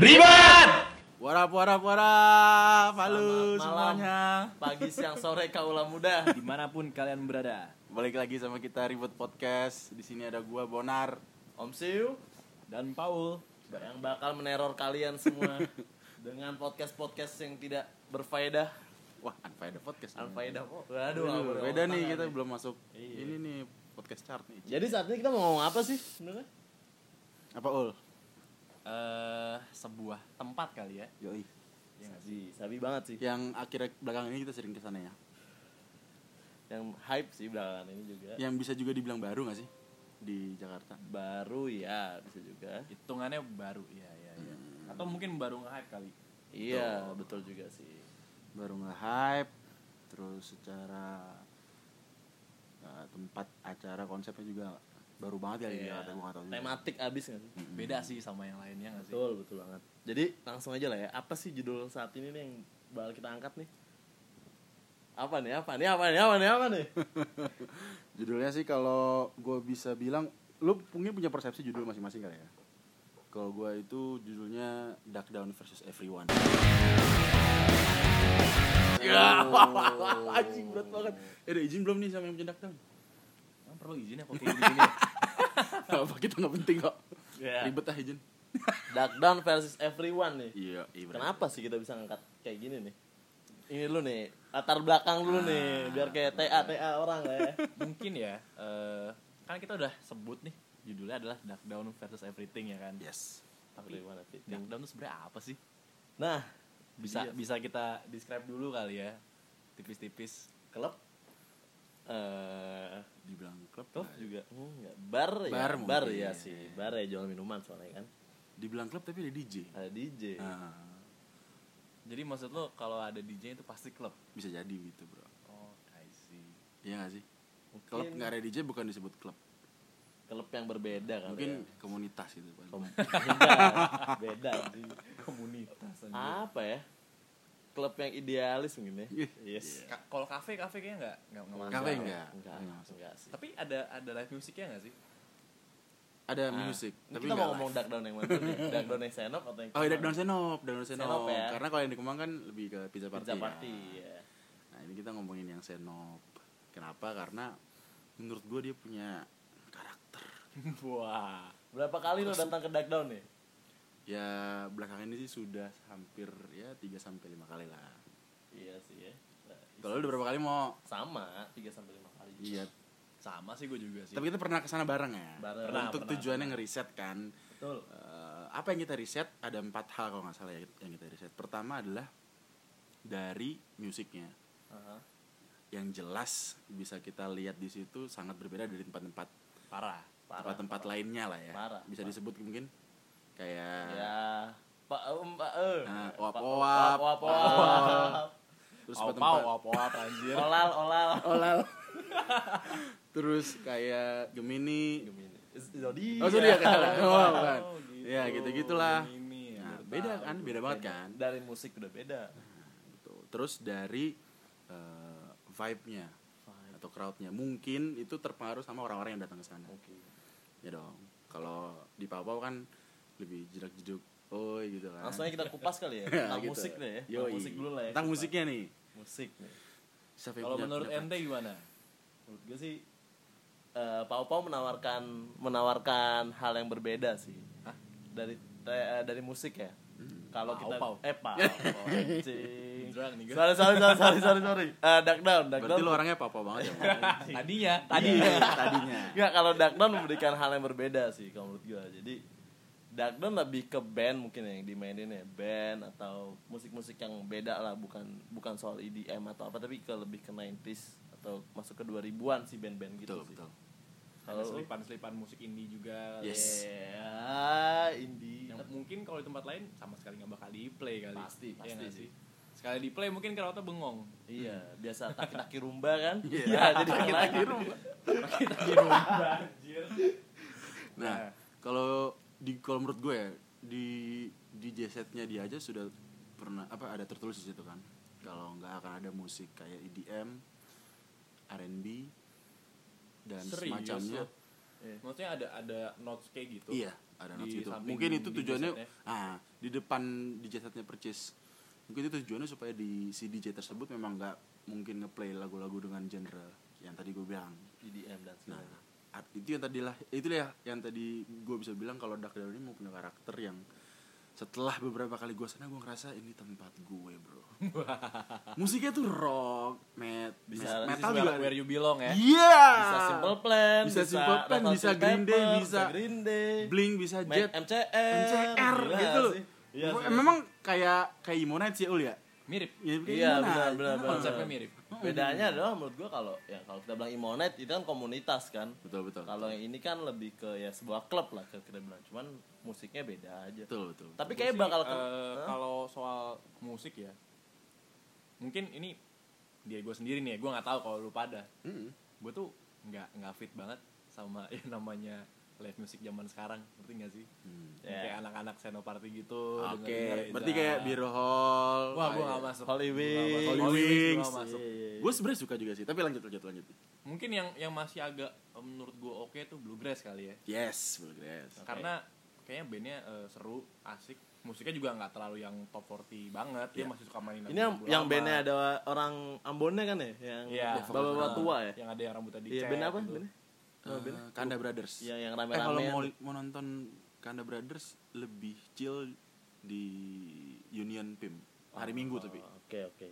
Ribat! Warap warap warap, halo Selamat malam. semuanya. Pagi, siang, sore, kaula muda. dimanapun kalian berada Balik lagi sama kita Ribut Podcast. Di sini ada gua Bonar. Om Siu dan Paul yang bakal meneror kalian semua dengan podcast-podcast yang tidak berfaedah. Wah, unfaedah podcast. Alfaedah kok. Waduh, Aduh, nggak beda boleh nih otak kita nih. belum masuk. Iya. Ini nih podcast chart nih. Jadi saat ini kita mau ngomong apa sih sebenarnya? Apa ul? eh sebuah tempat kali ya Yoi. yang di Sabi banget Iya sih. Yang akhir belakang ini kita sering kesana ya. Yang hype sih belakangan ini juga. Yang bisa juga dibilang baru gak sih di Jakarta? Baru ya bisa juga. hitungannya baru ya ya ya atau mungkin baru nge-hype kali Iya, betul juga sih. Baru nge-hype, terus secara eh, tempat acara konsepnya juga baru banget kali di Iya. Jakarta. Gua nggak tahu juga. Tematik abis nggak sih? beda sih sama yang lainnya nggak sih Betul, betul banget. Jadi langsung aja lah ya. Apa sih judul saat ini nih yang bakal kita angkat nih? Apa nih? Apa nih? Apa nih? Apa nih? Apa nih? Judulnya sih kalau gue bisa bilang, lu mungkin punya persepsi judul masing-masing kali ya. Kalau gue itu judulnya Duck Down versus Everyone. Iya. Ya, anjing berat banget. Eh, ada izin belum nih sama yang punya Duck Down? Emang perlu izin ya kalau kayak gini ya? Apa kita nggak penting kok? Ya. Ribet ah izin. Dark Down versus Everyone nih. Iya, iya. berat. Kenapa sih kita bisa ngangkat kayak gini nih? Ini dulu nih, latar belakang dulu nih, biar kayak TA TA orang lah ya. mungkin ya eh kan kita udah sebut nih judulnya adalah Dark Down versus Everything ya kan Yes. Everyone, everything. Dark Down itu sebenarnya apa sih Nah, Iya. bisa bisa kita describe dulu kali ya tipis-tipis klub eh Dibilang klub. klub nggak- juga hmm, nggak. bar ya, Bar bar, mungkin, ya iya. sih, bar ya jual minuman soalnya kan. Dibilang klub tapi ada DJ. Ada DJ. Nah, jadi maksud lo kalau ada DJ itu pasti klub bisa jadi gitu, bro. oh I see Iya gak sih? Klub Mungkin nggak ada DJ bukan disebut klub. klub yang berbeda kan. Mungkin komunitas gitu. Bang. beda sih. komunitas aja. Apa ya? Klub yang idealis mungkin ya. Iya. Yes. Ka- kalau kafe kafe kayaknya nggak nggak nggak masuk. Kafe enggak? Enggak, Enggak masuk. enggak sih. Tapi ada ada live musiknya nggak sih? Ada Ah, music, ini tapi kita enggak mau ngomong dark down yang mana nih? Dark down yang senop atau yang Oh, Dark Down Senop, Dark Down Senop. Senop ya. Karena kalau yang di Kemang kan lebih ke pizza party. Pizza ya. party ya. Nah, ini kita ngomongin yang Senop. Kenapa? Karena menurut gue dia punya karakter. Wah. Berapa kali lo datang ke dark down nih? Ya, belakangan ini sih sudah hampir ya 3 sampai 5 kali lah. Iya sih ya. Nah, Kalau lu udah berapa kali mau? Sama 3 sampai 5 kali. Iya. Sama sih gue juga sih. Tapi kita pernah kesana bareng ya. Bareng. Untuk Pernah, tujuannya ngeriset kan. Betul. Eh, apa yang kita riset ada empat hal kalau nggak salah ya yang kita riset. Pertama adalah dari musiknya. Aha. yang jelas bisa kita lihat di situ sangat berbeda dari tempat-tempat parah. Parah. tempat-tempat lainnya lah ya. Parah. Bisa disebut mungkin kayak Ya. Pak um, Pak eh. Nah, Pak- oap-oap. Pak- oap oap. terus Au tempat-tempat- pau, au pau, Iya. anjir. Olal olal. Olal. terus kayak Gemini. Gemini. Iya. Zodiac. Oh, sorry ya kalah. Oh, bukan. gitu. ya. Ya, gitu-gitulah. Gemini, Nah, baru beda tahu kan, gue beda banget kayaknya. kan. Dari musik udah beda. Gitu. Terus dari eh, vibe-nya atau crowd-nya mungkin itu terpengaruh sama orang-orang yang datang ke sana. Oke. Ya dong. Kalau di Papua kan lebih jedak-jeduk. Oi gitu kan. Langsung aja kita kupas kali ya. Ya, Tentang gitu. musik deh ya. Yoi. Tentang musik dulu lah ya. Tentang Kupas. musiknya nih. Musik nih. Siapa yang Kalau punya menurut pendapat? ente gimana? menurut gue sih eh Pau Pau menawarkan menawarkan hal yang berbeda sih Hah? dari te- eh, dari musik ya Hmm. kalau kita Pau Pau. eh Pau Pau, anjing. Drang nih gue. sorry sorry sorry sorry sorry sorry Eh, Duck Down Duck Berarti Down. lu orangnya papa banget ya. Bang? Tadinya, tadi Iya, tadinya. Nggak, kalau Duck Down memberikan hal yang berbeda sih kalau menurut gue jadi Duck Down lebih ke band mungkin ya, yang dimainin ya band atau musik-musik yang beda lah bukan bukan soal EDM atau apa tapi ke lebih ke 90s atau masuk ke 2000-an sih band-band gitu Betul, sih. betul. ada Kalau lu- selipan-selipan musik indie juga. Yes. Ya, indie. Yang mungkin kalau di tempat lain sama sekali nggak bakal di play kali. Pasti, Iya pasti nggak sih. sih. Sekali di play mungkin crowd-nya bengong. Iya, biasa taki-taki rumba kan? Iya. Iya. jadi taki-taki rumba. Iya. Nah, kalau di kalau menurut gue ya di DJ setnya dia aja sudah pernah apa ada tertulis di situ kan. Kalau nggak akan ada musik E kayak EDM, R&B dan Serius semacamnya. lo? Iya. maksudnya ada ada notes kayak gitu Iya, ada notes Di gitu. samping Mungkin itu di ya. tujuannya jasadnya. ah, di depan di jasadnya purchase. Mungkin itu tujuannya supaya di si DJ tersebut memang nggak mungkin ngeplay lagu-lagu dengan genre yang tadi gue bilang. EDM E dan Nah, sebagainya. art- itu yang tadi lah, itulah ya yang tadi gue bisa bilang kalau Dark Down ini mempunyai karakter yang setelah beberapa kali gue sana gue ngerasa ini tempat gue bro. Musiknya tuh rock, met, Bisa- This is metal where- juga. ada. where you belong ya Iya. Bisa Simple Plan, Bisa Simple Plan, Red Hot bisa Chili Green Day, Pepper, bisa Green Day, Blink bisa Mac Jet, MCR, MCR Gila gitu loh. sih. Iya, Mem- sih. memang kayak kayak Imonite sih Ul ya. mirip Ya, kayak Iya, Imonite. benar, benar, Kenapa? benar. Hmm, konsepnya mirip Bedanya adalah menurut gua kalau ya kalau kita bilang Imonite itu kan komunitas kan. Betul betul. Kalau yang ini kan lebih ke ya sebuah klub lah kita bilang. Cuman musiknya beda aja. betul betul. Tapi Gua kayak sih, bakal eh, ke Hah? kalau soal musik ya mungkin ini dia gue sendiri nih ya gue nggak tahu kalau lu pada Mm. gue tuh nggak nggak fit banget sama yang namanya live music zaman sekarang ngerti nggak sih Hmm. Yang Ya. kayak anak-anak senoparty Oh, gitu Oke, dengerin Reza. berarti kayak Biro Hall. wah gue nggak masuk Holy Gua nggak Wings. masuk. Holy Holy Wings gua Wings. Iya, nggak masuk Gue sebenarnya suka juga sih, tapi lanjut lanjut lanjut. mungkin yang yang masih agak eh, menurut gue oke tuh bluegrass kali ya Yes, Bluegrass. Oke. karena kayaknya bandnya eh, seru asik musiknya juga nggak terlalu yang top 40 banget dia masih suka main Iya. Ini yang, lagu-lagu yang lama. bandnya ada orang Ambonnya kan ya, yang Iya. bapak-bapak tua ya. yang ada yang rambutnya dicet Iya, band apa? gitu. Bandnya? Eh, Kanda Brothers. Iya, Yang yang eh kalau rame-rame. ya mau mau nonton Kanda Brothers lebih chill di Union PIM hari Minggu tapi. Oh, Oke, oke.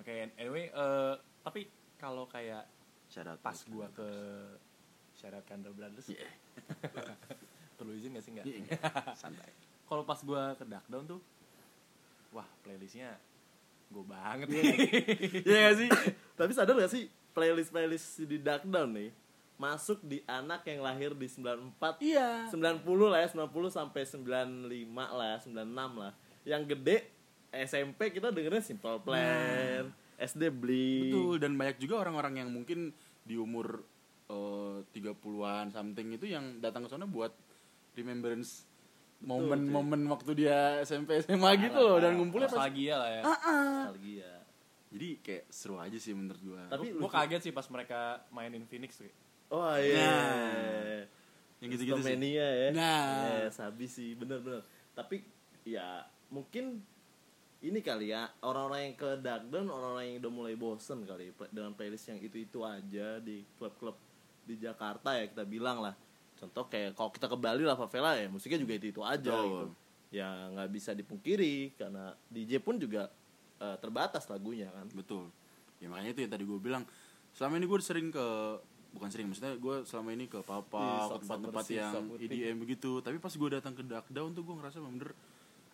oke anyway eh, tapi kalau kayak Shout out pas to gua Kanda ke syarat Kandel Brothers Iya. perlu izin gak sih nggak Iya, enggak. Santai. kalau pas gua ke Darkdown tuh wah playlistnya gue banget Iya gak sih? Tapi sadar gak sih playlist-playlist di Dark Down nih masuk di anak yang lahir di 94 Iya. 90 lah ya, 90 sampai 95 lah, 96 lah. Yang gede SMP kita dengerin Simple Plan, SD Blink. Nah. Betul dan banyak juga orang-orang yang mungkin di umur eh, 30-an something itu yang datang ke sana buat remembrance momen-momen waktu dia SMP SMA gitu loh dan ngumpulnya pas Ah, nostalgia lah ya Nostalgia. jadi kayak seru aja sih menurut gua Tapi gue lucu. kaget sih pas mereka mainin Phoenix tuh Oh iya. Nah. yang gitu-gitu sih Stomania ya. Nah. Yes, habis sih, bener-bener. Tapi ya mungkin ini kali ya orang-orang yang ke Darkdown, orang-orang yang udah mulai bosen kali ya, pla- dengan playlist yang itu-itu aja di klub-klub di Jakarta ya kita bilang lah. Contoh kayak kalau kita ke Bali lah favela ya musiknya juga itu-itu aja Betul. gitu. Ya nggak bisa dipungkiri karena DJ pun juga eh, terbatas lagunya kan. betul ya makanya itu yang tadi gua bilang selama ini gua sering ke bukan sering maksudnya gua selama ini Ih, ke Iya, papa sok-sok ke tempat-tempat bersih, yang E sok putih. EDM begitu gitu. tapi pas gua datang ke Dark Down tuh gua ngerasa bener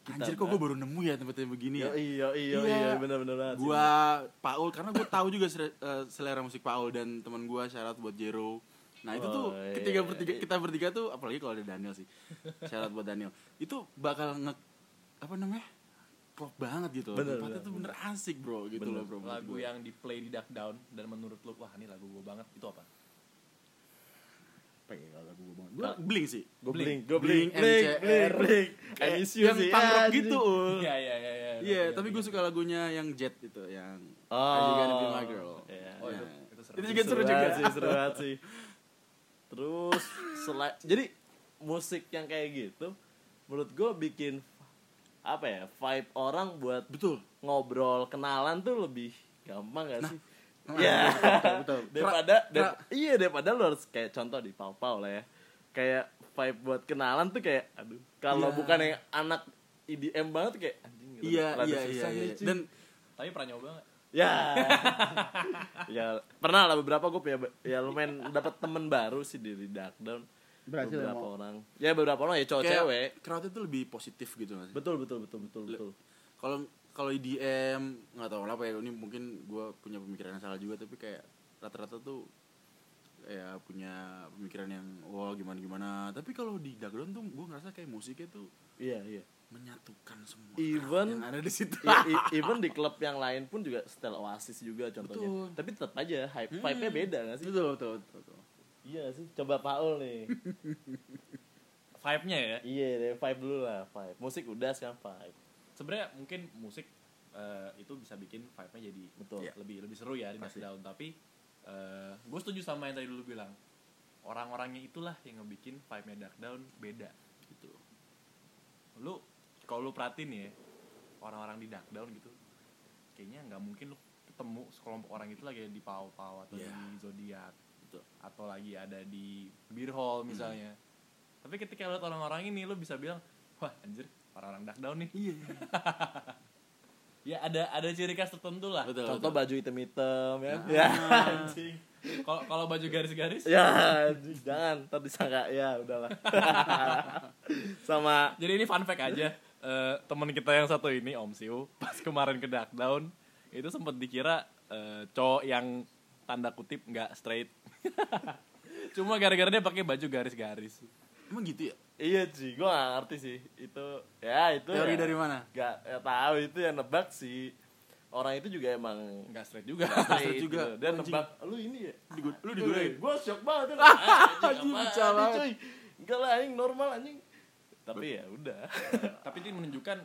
Kita anjir kok nggak- gua baru nemu ya tempatnya begini ya Iya iya iya Iya. iya benar-benar. banget sih. gua Paul karena gue tahu juga sere- eh, selera musik Paul dan teman gua syarat buat Jero nah itu tuh Oh, iya, ketiga iya, bertiga iya. kita bertiga tuh apalagi kalau ada Daniel sih syarat buat Daniel itu bakal nge apa namanya klop banget gitu loh. Bener, tempatnya bener, tuh bener asik bro gitu Bener. loh bro menurut gua. lagu yang di play di Darkdown dan menurut lu wah ini lagu gue banget itu apa apa ya kalau lagu gue banget gue bling sih Gue Blink. blink, gue blink, blink, MCR. blink, blink. I miss you yang sih, punk rock anjing. gitu Ul. iya iya iya iya Iya, tapi gue suka lagunya yang Jet itu, yang Oh. I You Gotta Be My Girl. Iya. Oh, itu- Nah, itu seru. itu juga seru juga. banget sih, seru banget sih. Terus sela- jadi musik yang kayak gitu menurut gue bikin apa ya vibe orang buat Betul. ngobrol kenalan tuh lebih gampang gak sih? Iya, Nah. betul, betul. Nah, daripada Tra- dar- iya daripada lu harus kayak contoh di Pau Pau lah ya kayak vibe buat kenalan tuh kayak aduh kalau Iya. bukan yang anak IDM banget tuh kayak anjing gitu, Iya, rada iya, iya, susah ya, iya. cuy. Dan tapi pernah nyoba nggak ya ya pernah lah beberapa gue punya ya lumayan dapat temen baru sih di di Darkdown Berhasil beberapa mau. orang ya beberapa orang ya cowok kayak cewek crowdnya tuh lebih positif gitu nggak sih? betul betul betul betul betul Kalau kalau IDM nggak tahu kenapa ya ini mungkin gue punya pemikiran yang salah juga tapi kayak rata-rata tuh ya punya pemikiran yang wah gimana gimana tapi kalau di Dagron tuh gue ngerasa kayak musiknya tuh iya iya menyatukan semua Even- yang ada di situ I- i- even di klub yang lain pun juga style Oasis juga contohnya Betul. Hmm. tapi tetap aja hype vibe-nya beda gak sih betul betul betul, betul. iya sih coba Paul nih vibe nya ya iya deh vibe dulu lah vibe musik udah sekarang vibe sebenarnya mungkin musik eh, itu bisa bikin vibe-nya jadi Betul. lebih eh, lebih seru ya di Dark Pasti. Down tapi gue setuju sama yang tadi dulu bilang orang-orangnya itulah yang ngebikin vibe-nya Dark Down beda gitu lu kalau lu perhatiin ya orang-orang di Dark Down gitu kayaknya nggak mungkin lu ketemu sekelompok orang itu lagi di Pau Pau atau Iya. di Zodiac Betul. Hmm. atau lagi ada di Beer Hall misalnya tapi ketika lu lihat orang-orang ini lu bisa bilang wah anjir orang-orang Dark Down nih iya ya ada ada ciri khas tertentu lah betul Contoh betul. baju hitam-hitam ya. Nah. Ya. anjing kalau kalau baju garis-garis Ya, anjing, jangan ntar disangka ya udahlah. Sama Jadi ini fun fact aja. Eh, teman kita yang satu ini Om Siu pas kemarin ke Dark Down itu sempat dikira eh, cowok yang tanda kutip nggak straight. Cuma gara-gara dia pakai baju garis-garis. emang gitu ya iya sih, gua gak ngerti sih itu ya itu teori ya, dari mana Gak ya, tahu itu yang nebak sih orang itu juga emang Nggak straight juga. straight juga. gitu. dia Anjing. nebak Ah, lu ini ya Digu- lu gue digulai Gue shock banget ya. Anjing Anjing, apaan pecah nih, banget. cuy. Enggak lah anjing normal anjing. Tapi ya udah. Tapi ini menunjukkan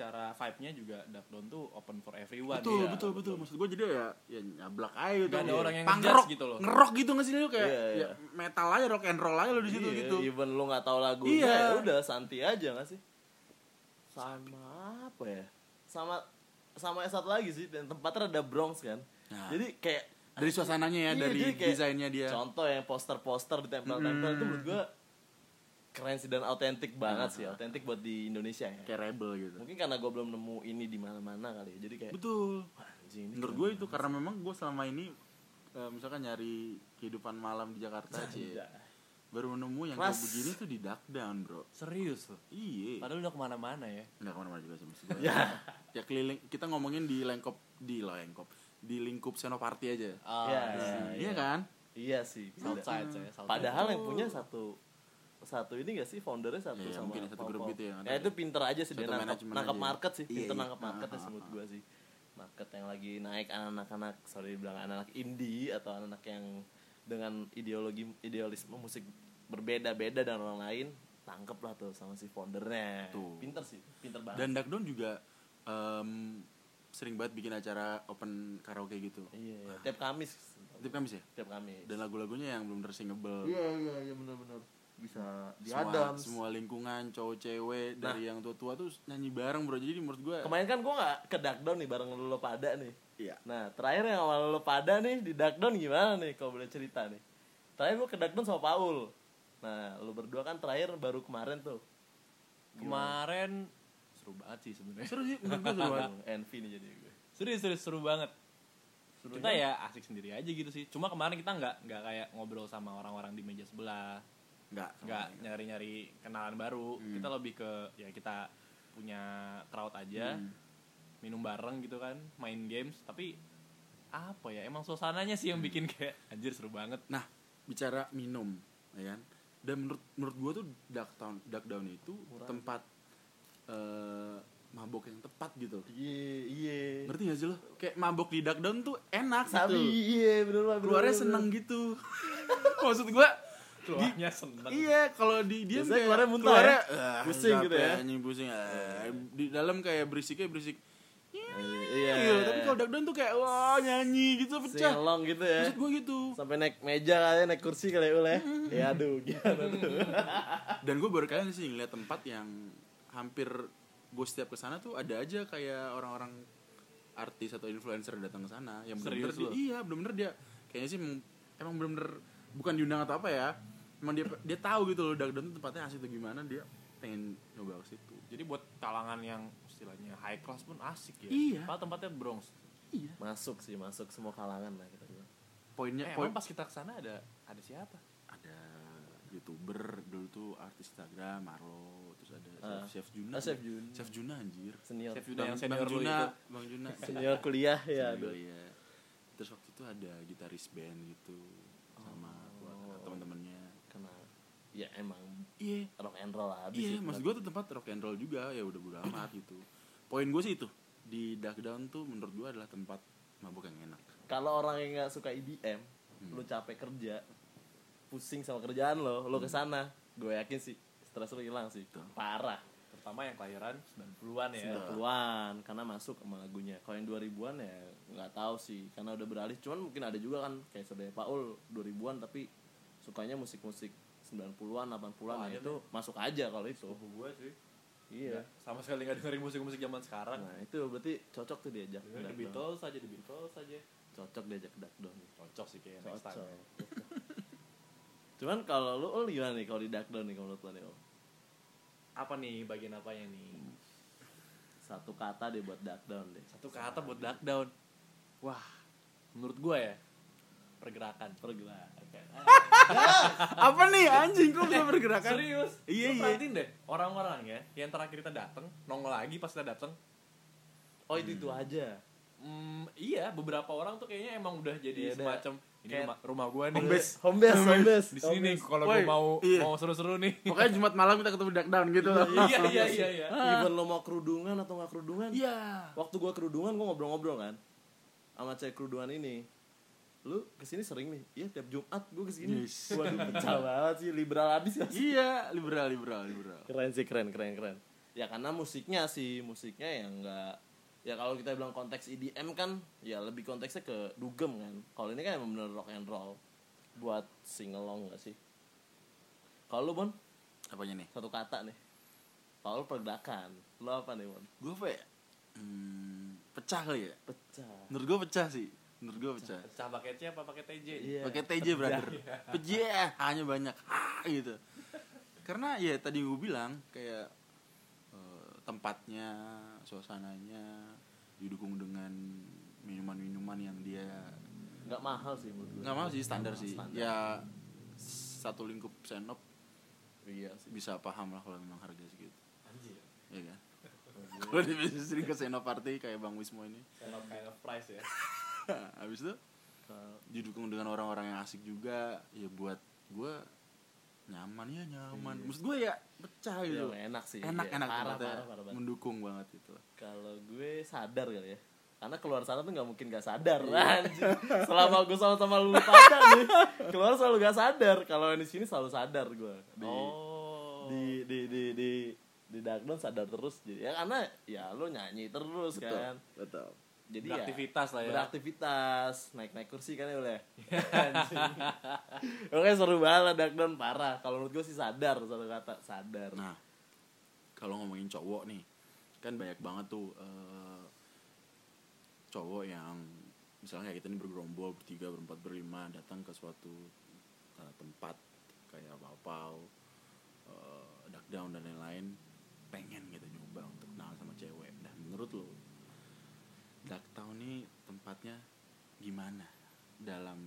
secara vibe-nya juga Dark Down tuh open for everyone. betul ya. betul betul maksud gue jadi ya ya nyablak aja gitu Nggak ada orang yang Punk ngejudge rock. gitu loh. ngerok gitu nggak sih lu kayak Iya, iya. ya, metal aja rock and roll aja lo di situ Iya, gitu Even lu nggak tahu lagunya Iya. ya udah santai aja nggak sih? Sama apa ya? Sama sama yang satu lagi sih dan tempatnya ada Bronx kan. Nah. Jadi kayak dari suasananya ya Iya, dari jadi kayak- desainnya dia Hmm. contoh yang poster-poster di tempel-tempel itu menurut gua keren sih dan autentik banget sih, autentik buat di Indonesia ya. Nah. kayak rebel gitu Mungkin karena gua belum nemu ini di mana-mana kali ya. Jadi kayak betul anjing ini menurut keren gue itu karena memang gue selama ini eh, misalkan nyari kehidupan malam di Jakarta sih baru nemu yang kayak Kelas. begini tuh di duck down bro Serius loh. iya Padahal udah kemana-mana ya. nggak kemana-mana juga sih maksud gue ya keliling kita ngomongin di lengkop di lengkop di lingkup senoparty aja Ah, Iya. Nah, iya. iya kan Iya sih. South bener. side saya. South Padahal side. yang punya satu satu ini gak sih foundernya satu Iya, sama mungkin satu Pau grup Pau. gitu ya, nggak Ya tahu itu pinter aja sih dia Satu nangkap, manajemen nangkap aja ya. market sih, Iya, pinter iya. nangkap market Ah, sih ah, menurut ah. gua sih. Market yang lagi naik anak-anak, sorry bilang anak-anak indie atau anak yang dengan ideologi idealisme musik berbeda-beda dengan orang lain, tangkep lah tuh sama si foundernya. Tuh. Pinter sih, pinter banget. dan duck down juga em, sering banget bikin acara open karaoke gitu iya, iya. tiap Kamis, Tip Kamis ya tiap Kamis. dan lagu-lagunya yang belum tersingable Iya, iya, iya benar-benar bisa semua, semua lingkungan cowok cewek dari yang tua-tua tuh nyanyi bareng bro jadi menurut gue Kemarin kan gue gak Nah. ke Darkdown nih bareng lu, lu pada nih Iya. Nah terakhir yang awal lu pada nih di Darkdown gimana nih kalau boleh cerita nih Terakhir gue ke Darkdown sama Paul Nah lu berdua kan terakhir baru kemarin tuh kemarin seru banget sih sebenarnya. seru sih menurut gue seru banget Aduh, Envy nih jadi gue Serius, serius, seru banget. Seru kita ya asik sendiri aja gitu sih. Cuma kemarin kita nggak nggak kayak ngobrol sama orang-orang di meja sebelah, nggak nggak nyari-nyari kenalan baru. Kita lebih ke ya kita punya crowd aja, minum bareng gitu kan, main games. Tapi apa ya? Emang suasananya sih yang bikin kayak anjir seru banget. Nah, bicara minum, ya kan? Dan menurut menurut gua tuh Dark Town, Dark Down itu tempat eh mabok yang tepat gitu. Iye, iye Ngerti gak sih lo? Kayak mabok di Dark Down tuh enak Sabi, gitu. iye bener banget Keluarnya seneng gitu. Maksud gua Keluarnya seneng. Iya, kalau di dia Biasanya keluarnya muntah ya? "Ah, Pusing gitu capek, ya?" Anjing pusing. ah." di dalam kayak berisiknya berisik. Iya, Iya, tapi kalau Dark Down tuh kayak wah nyanyi gitu pecah. Selong gitu ya Maksud gua gitu. Sampai naik meja kali naik kursi kali ya Ya aduh gimana tuh dan gue baru kali ini sih ngeliat tempat yang hampir gue setiap kesana tuh ada aja kayak orang-orang artis atau influencer datang ke sana yang bener Serius dia, lu? iya bener-bener dia kayaknya sih emang- emang bener-bener bukan diundang atau apa ya emang dia dia tahu gitu loh Dark Down tuh tempatnya asli tuh gimana dia pengen nyoba ke situ Jadi buat kalangan yang istilahnya high class pun asik ya. Iya. Padahal tempatnya Bronx. iya Masuk sih masuk semua kalangan lah kita bilang poinnya Eh, poin emang pas kita kesana ada ada siapa? ada youtuber dulu tuh artis Instagram Marlo terus ada Ah. chef, chef Juna Ah, Chef Juna. chef Juna anjir Senior Chef Juna yang Bang senior lu Juna itu. Bang Juna senior kuliah ya Sendiri, aduh. iya. terus waktu itu ada gitaris band gitu sama keluarga teman-temannya kenal ya emang iya rock and roll lah abis iya itu. maksud gue tuh tempat rock and roll juga ya udah bodo amat gitu poin gue sih itu di Dark Down tuh menurut gue adalah tempat mabuk yang enak kalau orang yang nggak suka IDM lu capek kerja pusing sama kerjaan lo lo kesana gue yakin sih stres lo hilang sih Betul. parah Terutama yang kelahiran 90-an ya. 90-an karena masuk sama lagunya kalau yang 2000-an ya nggak tahu sih karena udah beralih cuman mungkin ada juga kan kayak saudara Paul 2000-an tapi sukanya musik-musik 90-an, 80-an nah Wah, iya itu masuk aja kalau itu. Sepupu gue sih. Iya. Sama sekali nggak dengerin musik-musik zaman sekarang. Ya, Nah, itu berarti cocok tuh diajak. ke The Dark Down. Iya. Beatles aja, The Beatles aja. Cocok diajak ke Dark Down. Cocok sih kayak next Cocok. time. Cuman kalau lu, lu gimana nih kalau di Dark Down nih kalau menurut lu nih? Om? Apa nih bagian apanya nih? Satu kata deh buat Dark Down deh. Satu kata buat duck down. Wah, menurut gue ya pergerakan. Pergerakan. apa nih anjing kok bisa bergerakan Serius? Iya, Lu iya. Ah, perhatiin deh orang-orang ya yang terakhir kita dateng nongol lagi pas kita dateng. Oh, itu itu aja. Hmm, iya, beberapa orang tuh kayaknya emang udah Iya, jadi udah. semacam ini Kayak- rumah, rumah gue nih. Home base. Home base, home base. Di sini nih kalau gue Woi, mau iya. mau seru-seru nih. pokoknya jumat malam kita ketemu duck down gitu iya iya iya iya. Even lo mau kerudungan atau nggak kerudungan? iya Waktu gua kerudungan gua ngobrol-ngobrol kan sama cewek kerudungan ini. Lu kesini sering nih? Iya tiap Jumat gua kesini. Yes. Waduh pecah banget sih liberal abis ya. iya liberal liberal liberal Keren sih keren keren keren. Ya karena musiknya sih musiknya yang nggak ya kalau kita bilang konteks EDM kan ya lebih konteksnya ke dugem kan. Kalau ini kan emang bener rock and roll buat singelong gak sih? Kalau lu Bon apanya nih satu kata nih. Kalau lu pergerakan, lu apa nih Bon? gue apa ya hmm, pecah kali ya Pecah. menurut gue pecah sih menurut gue pecah Pecah pakai C apa pakai TJ? Iya. pakai TJ brother pejeh hanya banyak ah gitu karena ya tadi gue bilang kayak eh, tempatnya suasananya didukung dengan minuman-minuman yang dia Nggak mahal sih menurut gue. nggak mau sih standar sih Standar. ya satu lingkup senop Iya sih. bisa paham lah kalau memang harga segitu Anjir. ya kan kalau di bisnis sering ke senop party kayak bang Wismo ini Kind of, kind of price ya. habis itu Kalau- didukung dengan orang-orang yang asik juga ya buat gue nyaman ya nyaman maksud gue ya pecah Ya, gitu enak sih. enak iya. enak parah, banget ya. parah, parah banget. mendukung banget itu Kalau gue sadar kali ya. Karena keluar sana tuh nggak mungkin gak sadar anjing. Selama gue sama-sama lu pada nih, keluar selalu gak sadar. Kalau di sini selalu sadar gue. Di, Oh. di di di di di Dark Down sadar terus. Jadi ya karena ya lu nyanyi terus kan. betul Jadi Beraktivitas ya, lah ya. Beraktivitas, naik-naik kursi kan ya boleh. Anjing. Oke seru banget lah Dark Down parah. Kalau menurut gue sih sadar satu kata sadar. nah kalau ngomongin cowok nih kan banyak banget tuh eh, cowok yang misalnya kayak kita ini bergerombol bertiga berempat berlima datang ke suatu eh, tempat kayak papau eh, duck down dan lain-lain pengen gitu nyoba untuk kenal sama cewek dan menurut lo duck down nih tempatnya gimana dalam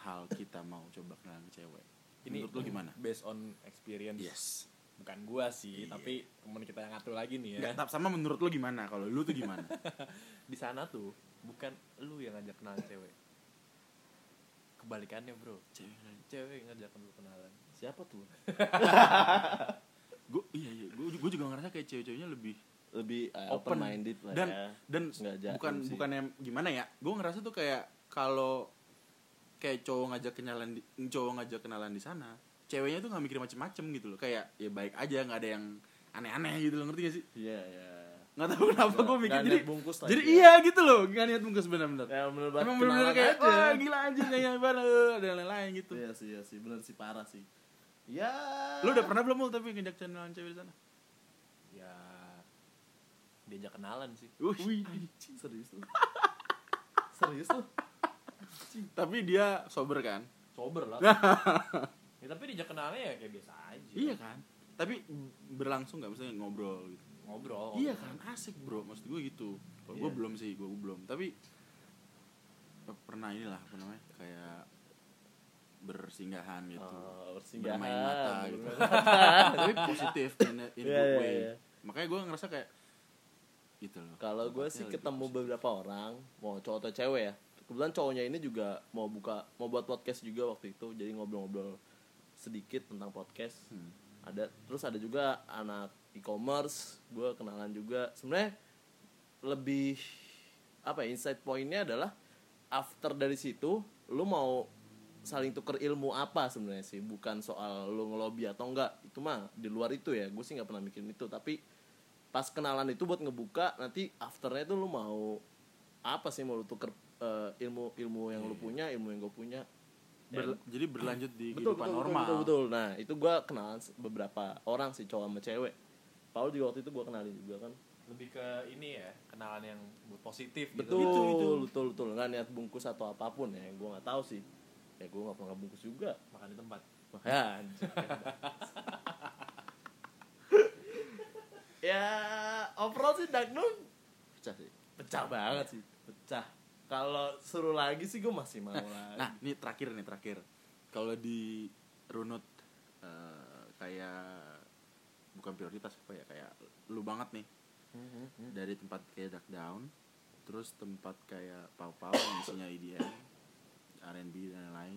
hal kita mau coba kenal sama cewek Ini menurut lo gimana Based on experience. yes Bukan gua sih, Iya. tapi teman kita yang ngatur lagi nih ya. Nggak, tap sama menurut lu gimana? Kalau lu tuh gimana? di sana tuh bukan lu yang ngajak kenalan cewek kebalikannya bro cewek yang ngajak lu kenalan Siapa tuh? gue iya iya, gue juga ngerasa kayak cewek-ceweknya lebih lebih open open minded lah dan ya. dan Nggak jaim bukan sih. bukan yang gimana ya? Gue ngerasa tuh kayak kalau kayak cowok ngajak kenalan di, cowok ngajak kenalan di sana, ceweknya tuh nggak mikir macem-macem gitu loh. Kayak ya baik aja, nggak ada yang aneh-aneh gitu loh, ngerti gak sih? Iya, iya. Nggak tahu kenapa Nggak- gue mikir nggak jadi niat bungkus lah jadi gitu iya gitu loh, nggak niat bungkus benar-benar. Ya bener banget Emang bener-bener kayak aja. wah gila anjing kayak banget dan lain-lain gitu. Iya sih, iya sih, bener sih parah sih. Ya. Lu udah pernah belum Mul, tapi ngajak kenalan cewek di sana? ya diajak kenalan sih Wih, serius lu? serius lu? tapi dia sober kan? sober lah ya, tapi diajak kenalannya ya kayak biasa aja Iya kan? Tapi berlangsung nggak misalnya ngobrol gitu? ngobrol Iya kan, asik bro, maksud gue gitu. Kalau gue Oh. Iya. belum sih, gue belum. Tapi eh, pernah inilah apa namanya kayak bersinggahan gitu, Oh, bersinggahan. bermain mata gitu. Bermain tapi positif in a, in Iya, a good iya, way. iya. Makanya gue ngerasa kayak gitu loh. Kalau gue sih Tempatnya ketemu lebih beberapa orang, mau cowok atau cewek ya. Kebetulan cowoknya ini juga mau buka, mau buat podcast juga waktu itu, jadi ngobrol-ngobrol sedikit tentang podcast. positif. Hmm. Ada, terus ada juga anak e-commerce, gue kenalan juga. Sebenarnya lebih apa ya, insight pointnya adalah after dari situ, lu mau saling tuker ilmu apa sebenarnya sih, bukan soal lu ngelobi atau enggak. Itu mah di luar itu ya, gue sih nggak pernah mikirin itu, tapi pas kenalan itu buat ngebuka nanti afternya tuh lu mau apa sih mau lu tuker eh, ilmu ilmu yang lu punya ilmu yang gue punya Berla- jadi berlanjut Iya. di betul, kehidupan betul, normal Betul, betul, betul. Nah, itu gue kenalan se- beberapa orang sih, cowok sama cewek. Paul juga waktu itu gue kenalin juga kan. lebih ke ini ya kenalan yang positif Betul, gitu. betul, betul, Nggak niat bungkus atau apapun ya. Gue nggak tahu sih. Ya gue nggak pernah bungkus juga. makan di tempat Makanya. ya overall sih Dark Noon pecah sih. Pecah banget sih. Pecah. Kalau seru lagi sih gue masih mau lagi. nah ini terakhir nih terakhir kalau di runut eh, kayak bukan prioritas apa ya kayak lu banget nih dari tempat kayak duck down terus tempat kayak pau pau yang isinya E EDM R&B dan lain-lain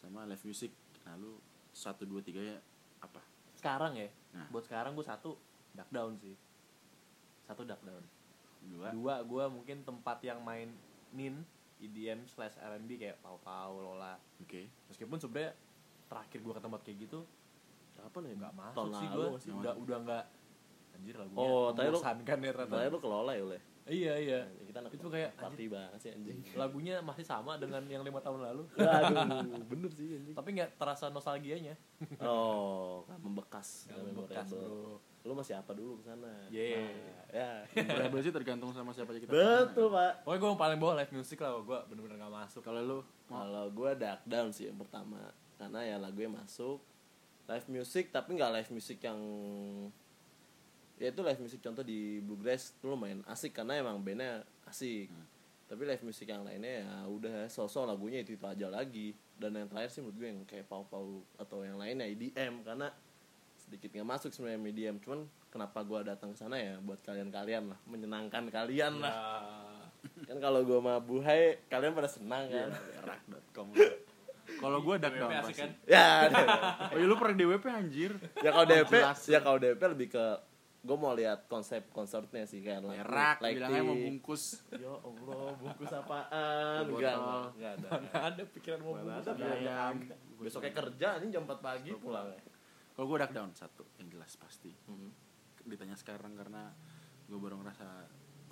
sama live music nah lu satu dua tiga ya apa sekarang ya Nah. buat sekarang gue satu duck down sih satu duck down dua dua gue mungkin tempat yang main nin EDM slash R&B kayak pau pau lola oke meskipun sebenarnya terakhir gue ke tempat kayak gitu Kapan ya? nggak masuk Tahun sih lalu gue nggak sih? udah udah nggak anjir lagunya Oh, tadi lu- membosankan ya ternyata Terakhir lu kelola ya oleh. iya iya Kita anak Itu kayak, party banget sih anjing. lagunya masih sama dengan yang lima tahun lalu Aduh, bener sih anjing. tapi nggak terasa nostalgianya Oh, nggak membekas, Nggak membekas, memorable. Lu masih apa dulu ke sana? Yeah. Nah, ya. Variabel sih tergantung sama siapa aja kita Betul, Pak. pokoknya gue yang paling bawah live music lah gue bener-bener nggak masuk kalau lu Kalau gue dark down sih yang pertama Karena ya lagunya masuk Live music tapi nggak live music yang Ya itu live music contoh di Bluegrass itu lumayan asik Karena emang bandnya asik Tapi live music yang lainnya ya udah sosok lagunya itu-itu aja lagi Dan yang terakhir sih menurut gue yang kayak pau-pau Atau yang lainnya EDM Karena sedikit nggak masuk sebenarnya EDM Cuman kenapa gue datang ke sana ya buat kalian-kalian lah Menyenangkan kalian Iya. lah Kan kalau gue sama Buhay kalian pada senang kan Iya. kalau gua duck DWP down asik pasti kan? ya oh iya, lu pernah DWP anjir ya kalau DP Jelas. ya kalau DP lebih ke gue mau lihat konsep konsernya sih kayak lagu, Perak, lighting. bilangnya mau bungkus ya allah bungkus apaan enggak Botol. enggak ada mana ada pikiran mau Mana bungkus ada, aja. ayam. besoknya kerja ini jam 4 pagi pulang Kalau gue duck down satu yang jelas pasti. Mm-hmm. Ditanya sekarang karena gue baru ngerasa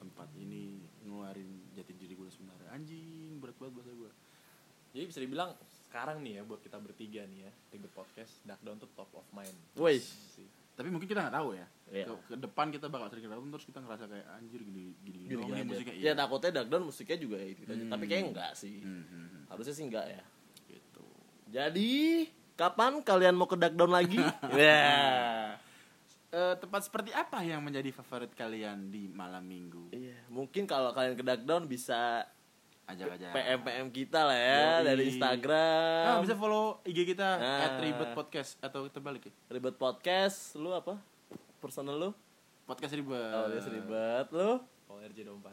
tempat ini ngeluarin jati diri gue sebenarnya anjing berat banget bahasa gue. jadi bisa dibilang sekarang nih ya buat kita bertiga nih ya di The podcast Dark Down tuh top of mind Wih. Sih. Tapi mungkin kita nggak tahu ya. Iya. Ke, ke depan kita bakal sering ketemu terus kita ngerasa kayak anjir gini gini, gini, Gini doang nih aja. musiknya iya. ya takutnya Dark Down musiknya juga ya itu aja. tapi kayaknya enggak sih Hmm, hmm, hmm. harusnya sih enggak ya Gitu. jadi kapan kalian mau ke Dark Down lagi ya Eh, tempat seperti apa yang menjadi favorit kalian di malam minggu? Iya, mungkin kalau kalian ke Dark Down bisa Ajak-ajak. PM PM kita lah ya Ya. Yoi. dari Instagram. Nah, bisa follow IG kita Nah. @ribetpodcast atau terbalik ya. Ribet podcast, lu apa? Personal lu? Podcast ribet. Oh, dia ribet lu. kalau RJ24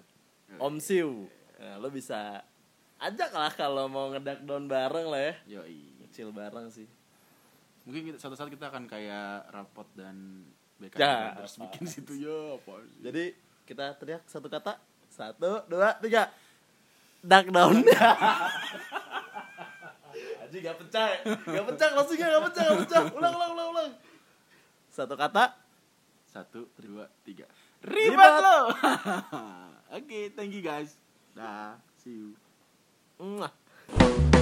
Om Siu. Nah, lu bisa ajak lah kalau mau ngedak down bareng lah ya. Yoi. Kecil bareng sih. Mungkin kita, suatu saat kita akan kayak rapot dan BK Ya, terus apa? bikin situ ya apa sih? Jadi kita teriak satu kata. Satu, dua, tiga. Dark down. Aji gak pecah, ya? gak pecah langsungnya gak pecah, gak pecah. Ulang, ulang, ulang, ulang. Satu kata. Satu, dua, tiga. Ribet. Ribet lo. Oke, thank you guys. Dah, see you. Mwah.